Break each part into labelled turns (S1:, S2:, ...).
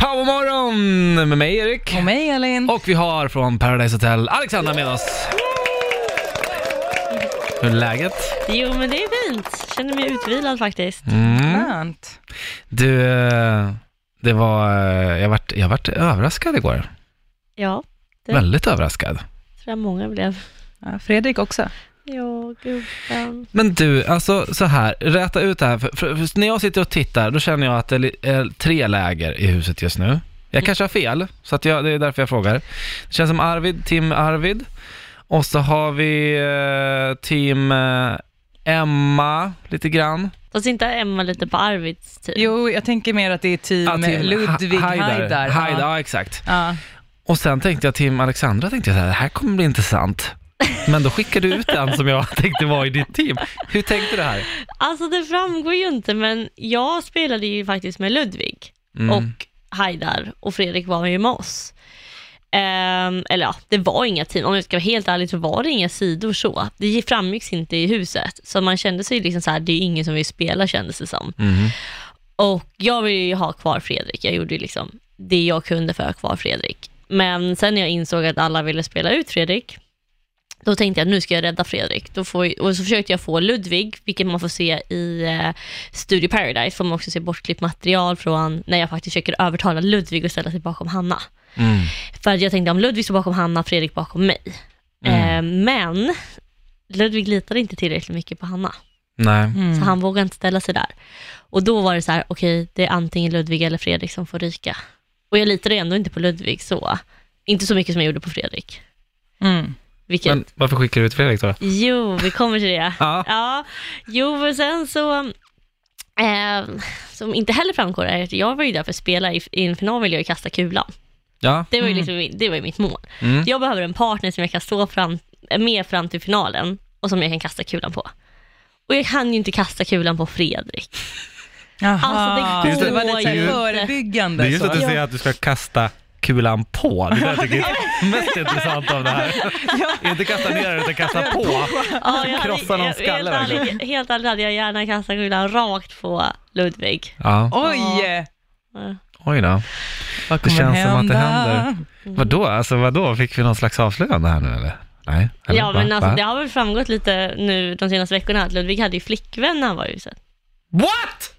S1: Ja, god morgon med mig Erik.
S2: Och mig Elin.
S1: Mm. Och vi har från Paradise Hotel Alexandra med oss. Hur är läget?
S3: Jo men det är fint, känner mig utvilad faktiskt.
S2: Ah.
S1: Mm.
S2: Skönt.
S1: Du, eh, det var, eh, jag vart, jag vart överraskad igår.
S3: Ja, Det-
S1: Väldigt överraskad.
S3: tror jag många blev.
S2: Ja, Fredrik också.
S3: Ja, gubben.
S1: Men du, alltså så här, räta ut det här. För, för, för när jag sitter och tittar, då känner jag att det är li- är tre läger i huset just nu. Jag kanske har fel, så att jag, det är därför jag frågar. Det känns som Arvid, Tim Arvid. Och så har vi eh, Team eh, Emma, lite grann.
S3: Fast inte Emma lite på Arvids typ.
S2: Jo, jag tänker mer att det är team,
S1: Ja, team
S2: eh, Ludvig
S1: Ah, Ha-
S2: Haidar.
S1: Haidar,
S2: Ja.
S1: ja exakt.
S2: Ja.
S1: Och sen tänkte jag Tim Alexandra, tänkte jag så här, det här kommer bli intressant. Men då skickade du ut den som jag tänkte var i ditt team. Hur tänkte du här?
S3: Alltså det framgår ju inte men jag spelade ju faktiskt med Ludvig
S1: Mm.
S3: och Haidar och Fredrik var ju med oss. Ehm, eller ja, det var inga team. Om jag ska vara helt ärlig så var det inga sidor så. Det framgick inte i huset. Så man kände sig liksom så här, det är ju ingen som vill spela kändes det som.
S1: Mm.
S3: Och jag ville ju ha kvar Fredrik. Jag gjorde ju liksom det jag kunde för att ha kvar Fredrik. Men sen när jag insåg att alla ville spela ut Fredrik, då tänkte jag nu ska jag rädda Fredrik. Då får, och så försökte jag få Ludvig, vilket man får se i eh, Studio Paradise, får man också se bortklippt material från när jag faktiskt försöker övertala Ludvig att ställa sig bakom Hanna.
S1: Mm.
S3: För att jag tänkte om Ludvig står bakom Hanna, Fredrik bakom mig. Eh, men Ludvig litade inte tillräckligt mycket på Hanna.
S1: Nej.
S2: Mm.
S3: Så han vågade inte ställa sig där. Och då var det så här, okej, det är antingen Ludvig eller Fredrik som får ryka. Och jag litade ändå inte på Ludvig så. Inte så mycket som jag gjorde på Fredrik.
S2: Mm.
S3: Vilket,
S1: Men varför skickar du ut Fredrik då?
S3: jo, vi kommer till det.
S1: Ja.
S3: Ja, jo, men sen så, eh, som inte heller framgår är att jag var ju där för att spela, i, i en final ville jag ju kasta kulan.
S1: Ja.
S3: Det var ju
S2: Mm.
S3: liksom, min- det var ju mitt mål.
S1: Mm.
S3: Jag behöver en partner som jag kan stå fram, eh, med fram till finalen och som jag kan kasta kulan på. Och jag kan ju inte kasta kulan på Fredrik.
S2: Jaha.
S3: Alltså, det
S2: det var
S3: går
S2: lite så här
S3: ju inte.
S2: förebyggande.
S1: Det är just
S2: så.
S1: att du
S3: Ja.
S1: säger att du ska kasta kulan på. Det är det jag tycker är mest intressant av det här. Inte kasta ner den, utan kasta på.
S3: Ja, jag hade-
S1: Krossa någon
S3: jag-
S1: skalle,
S3: Helt ärligt, helt ärligt hade jag gärna kastat kulan rakt på Ludvig.
S1: Ja.
S2: Oj!
S3: Ja.
S1: Oj då.
S2: Vad
S1: Det
S2: kommer
S1: känns som att det
S2: hända?
S1: händer. Vadå? Alltså vadå? Fick vi någon slags avslöjande här nu eller? Nej? Eller,
S3: Ja, men alltså, det har väl framgått lite nu de senaste veckorna att Ludvig hade ju flickvän när han var i huset.
S1: What?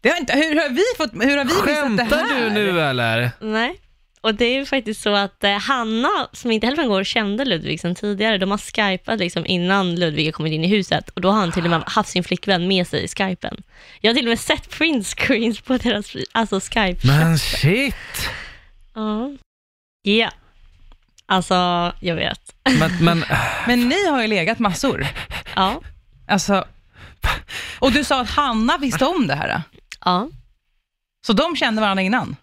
S2: Det har inte, hur har vi fått, hur har vi missat det
S1: Skämtar
S2: här?
S1: du nu eller?
S3: Nej. Och det är ju faktiskt så att eh, Hanna, som inte heller framgår, kände Ludvig sedan tidigare. De har skypat liksom innan Ludvig har kommit in i huset och då har han till och med haft sin flickvän med sig i skypen. Jag har till och med sett printscreens på deras alltså skype.
S1: Men shit!
S3: Ja. Ja. Alltså, jag vet.
S1: Men, men
S2: Men ni har ju legat massor.
S3: Ja.
S2: Alltså, och du sa att Hanna visste om det här.
S3: Ja.
S2: Så de kände varandra innan.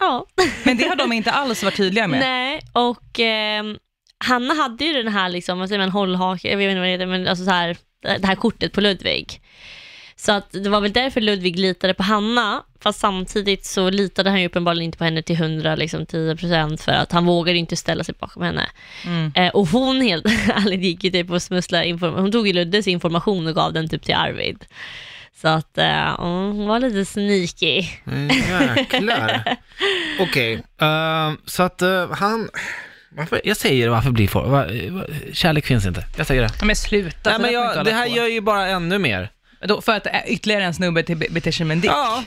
S3: Ja.
S2: Men det har de inte alls varit tydliga med.
S3: Nej, och ehm, Hanna hade ju den här liksom, vad säger man, hållhake, jag vet inte vad det heter, men alltså så här, det här kortet på Ludvig. Så att det var väl därför Ludvig litade på Hanna, fast samtidigt så litade han ju uppenbarligen inte på henne till 100, liksom 10% för att han vågade inte ställa sig bakom henne.
S2: Mm.
S3: Eh, och hon helt ärligt gick ju typ och smusslade information, hon tog ju Luddes information och gav den typ till Arvid. Så att eh, hon var lite sneaky.
S1: Jäklar. Okej, eh, så att eh, han... Varför, jag säger det, varför blir folk... var- var- kärlek finns inte. Jag säger det.
S2: Ja, Men sluta,
S1: Nej,
S2: så
S1: men
S2: där får
S1: jag,
S2: vi inte
S1: det
S2: hålla
S1: här
S2: på.
S1: gör ju bara ännu mer.
S2: Då, för att ä, ytterligare en snubbe till, be- beter sig med en dick.
S1: Ja.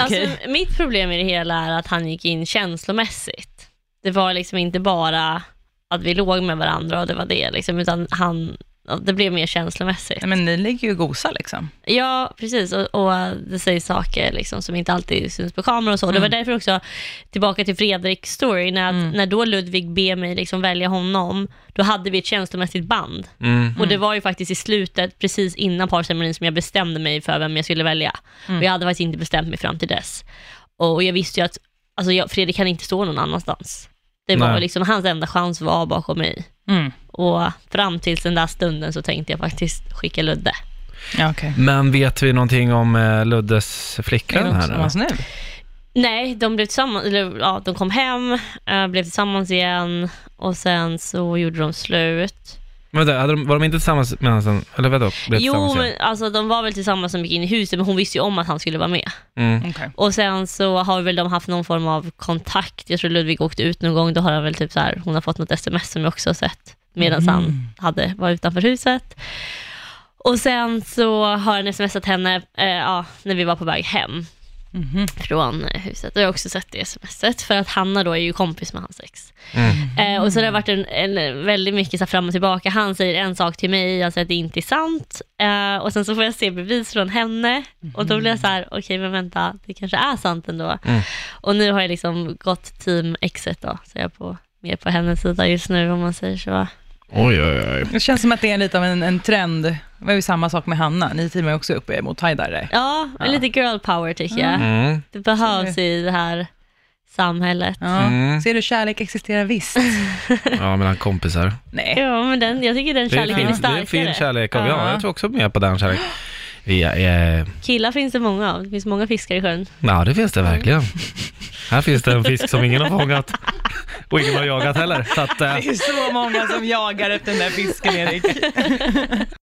S2: Okej.
S3: Alltså, mitt problem i det hela är att han gick in känslomässigt. Det var liksom inte bara att vi låg med varandra och det var det, liksom, utan han, det blev mer känslomässigt.
S2: Nej, Men ni ligger ju och gosar liksom.
S3: Ja, precis. Och, och det sägs saker liksom, som inte alltid syns på kamera och så. Det var därför också, tillbaka till Fredriks story, när, när då Ludvig ber mig liksom välja honom, då hade vi ett känslomässigt band.
S1: Mm.
S3: Och det var ju faktiskt i slutet, precis innan parceremonin, som jag bestämde mig för vem jag skulle välja.
S1: Mm.
S3: Och jag hade faktiskt inte bestämt mig fram till dess. Och jag visste ju att alltså jag, Fredrik kan inte stå någon annanstans. Det var
S1: Nej.
S3: liksom, hans enda chans var bakom mig.
S2: Mm.
S3: Och fram till den där stunden så tänkte jag faktiskt skicka Ludde.
S2: Ja, okej.
S1: Men vet vi någonting om eh, Luddes
S2: Är
S1: flickvän
S2: de
S1: här nu?
S2: tillsammans nu?
S3: Nej, de blev tillsammans, eller ja, de kom hem, eh, blev tillsammans igen och sen så gjorde de slut.
S1: Men vänta, hade de, var de inte tillsammans medan han, eller vadå? Blev
S3: Jo,
S1: tillsammans
S3: men alltså de var väl tillsammans som gick in i huset, men hon visste ju om att han skulle vara med.
S1: igen? Mm.
S2: Okej.
S3: Och sen så har väl de haft någon form av kontakt. Jag tror Ludvig åkte ut någon gång, då har han väl typ så här, hon har fått något sms som jag också har sett, medan han hade, var utanför huset. Och sen så har han smsat henne, eh, ja, när vi var på väg hem
S2: Mhm.
S3: från eh, huset. Och jag har också sett det smset, för att Hanna då är ju kompis med hans ex.
S1: Mm.
S3: Eh, och så har det varit en, en, väldigt mycket så här fram och tillbaka. Han säger en sak till mig, jag säger att det inte är sant. Eh, och sen så får jag se bevis från henne. Och då blir jag så här, okej men vänta, det kanske är sant ändå.
S1: Mm.
S3: Och nu har jag liksom gått team exet då, så jag är på, mer på hennes sida just nu om man säger så.
S1: Oj, oj, oj.
S2: Det känns som att det är lite av en, en trend. Det var ju samma sak med Hanna, ni teamar ju också upp er mot Haidar.
S3: Ja,
S2: Ja.
S3: lite girl power tycker jag.
S1: Mm.
S3: Det behövs i det här samhället.
S2: Ja.
S1: Mm.
S2: Ser du, kärlek existerar visst.
S1: Ja, mellan kompisar.
S2: Nej.
S3: Ja, men den, jag tycker den
S1: Det är,
S3: kärleken är
S1: fin, det är
S3: starkare.
S1: en fin kärlek. Och, ja,
S2: Ja.
S1: jag tror också mer på den kärleken. Vi är, eh,
S3: Killar finns det många av, det finns många fiskar i sjön.
S1: ja, det finns det verkligen. Här finns det en fisk som ingen har fångat. Och ingen har jagat heller. Så att, eh,
S2: Det är så många som jagar efter den där fisken, Erik.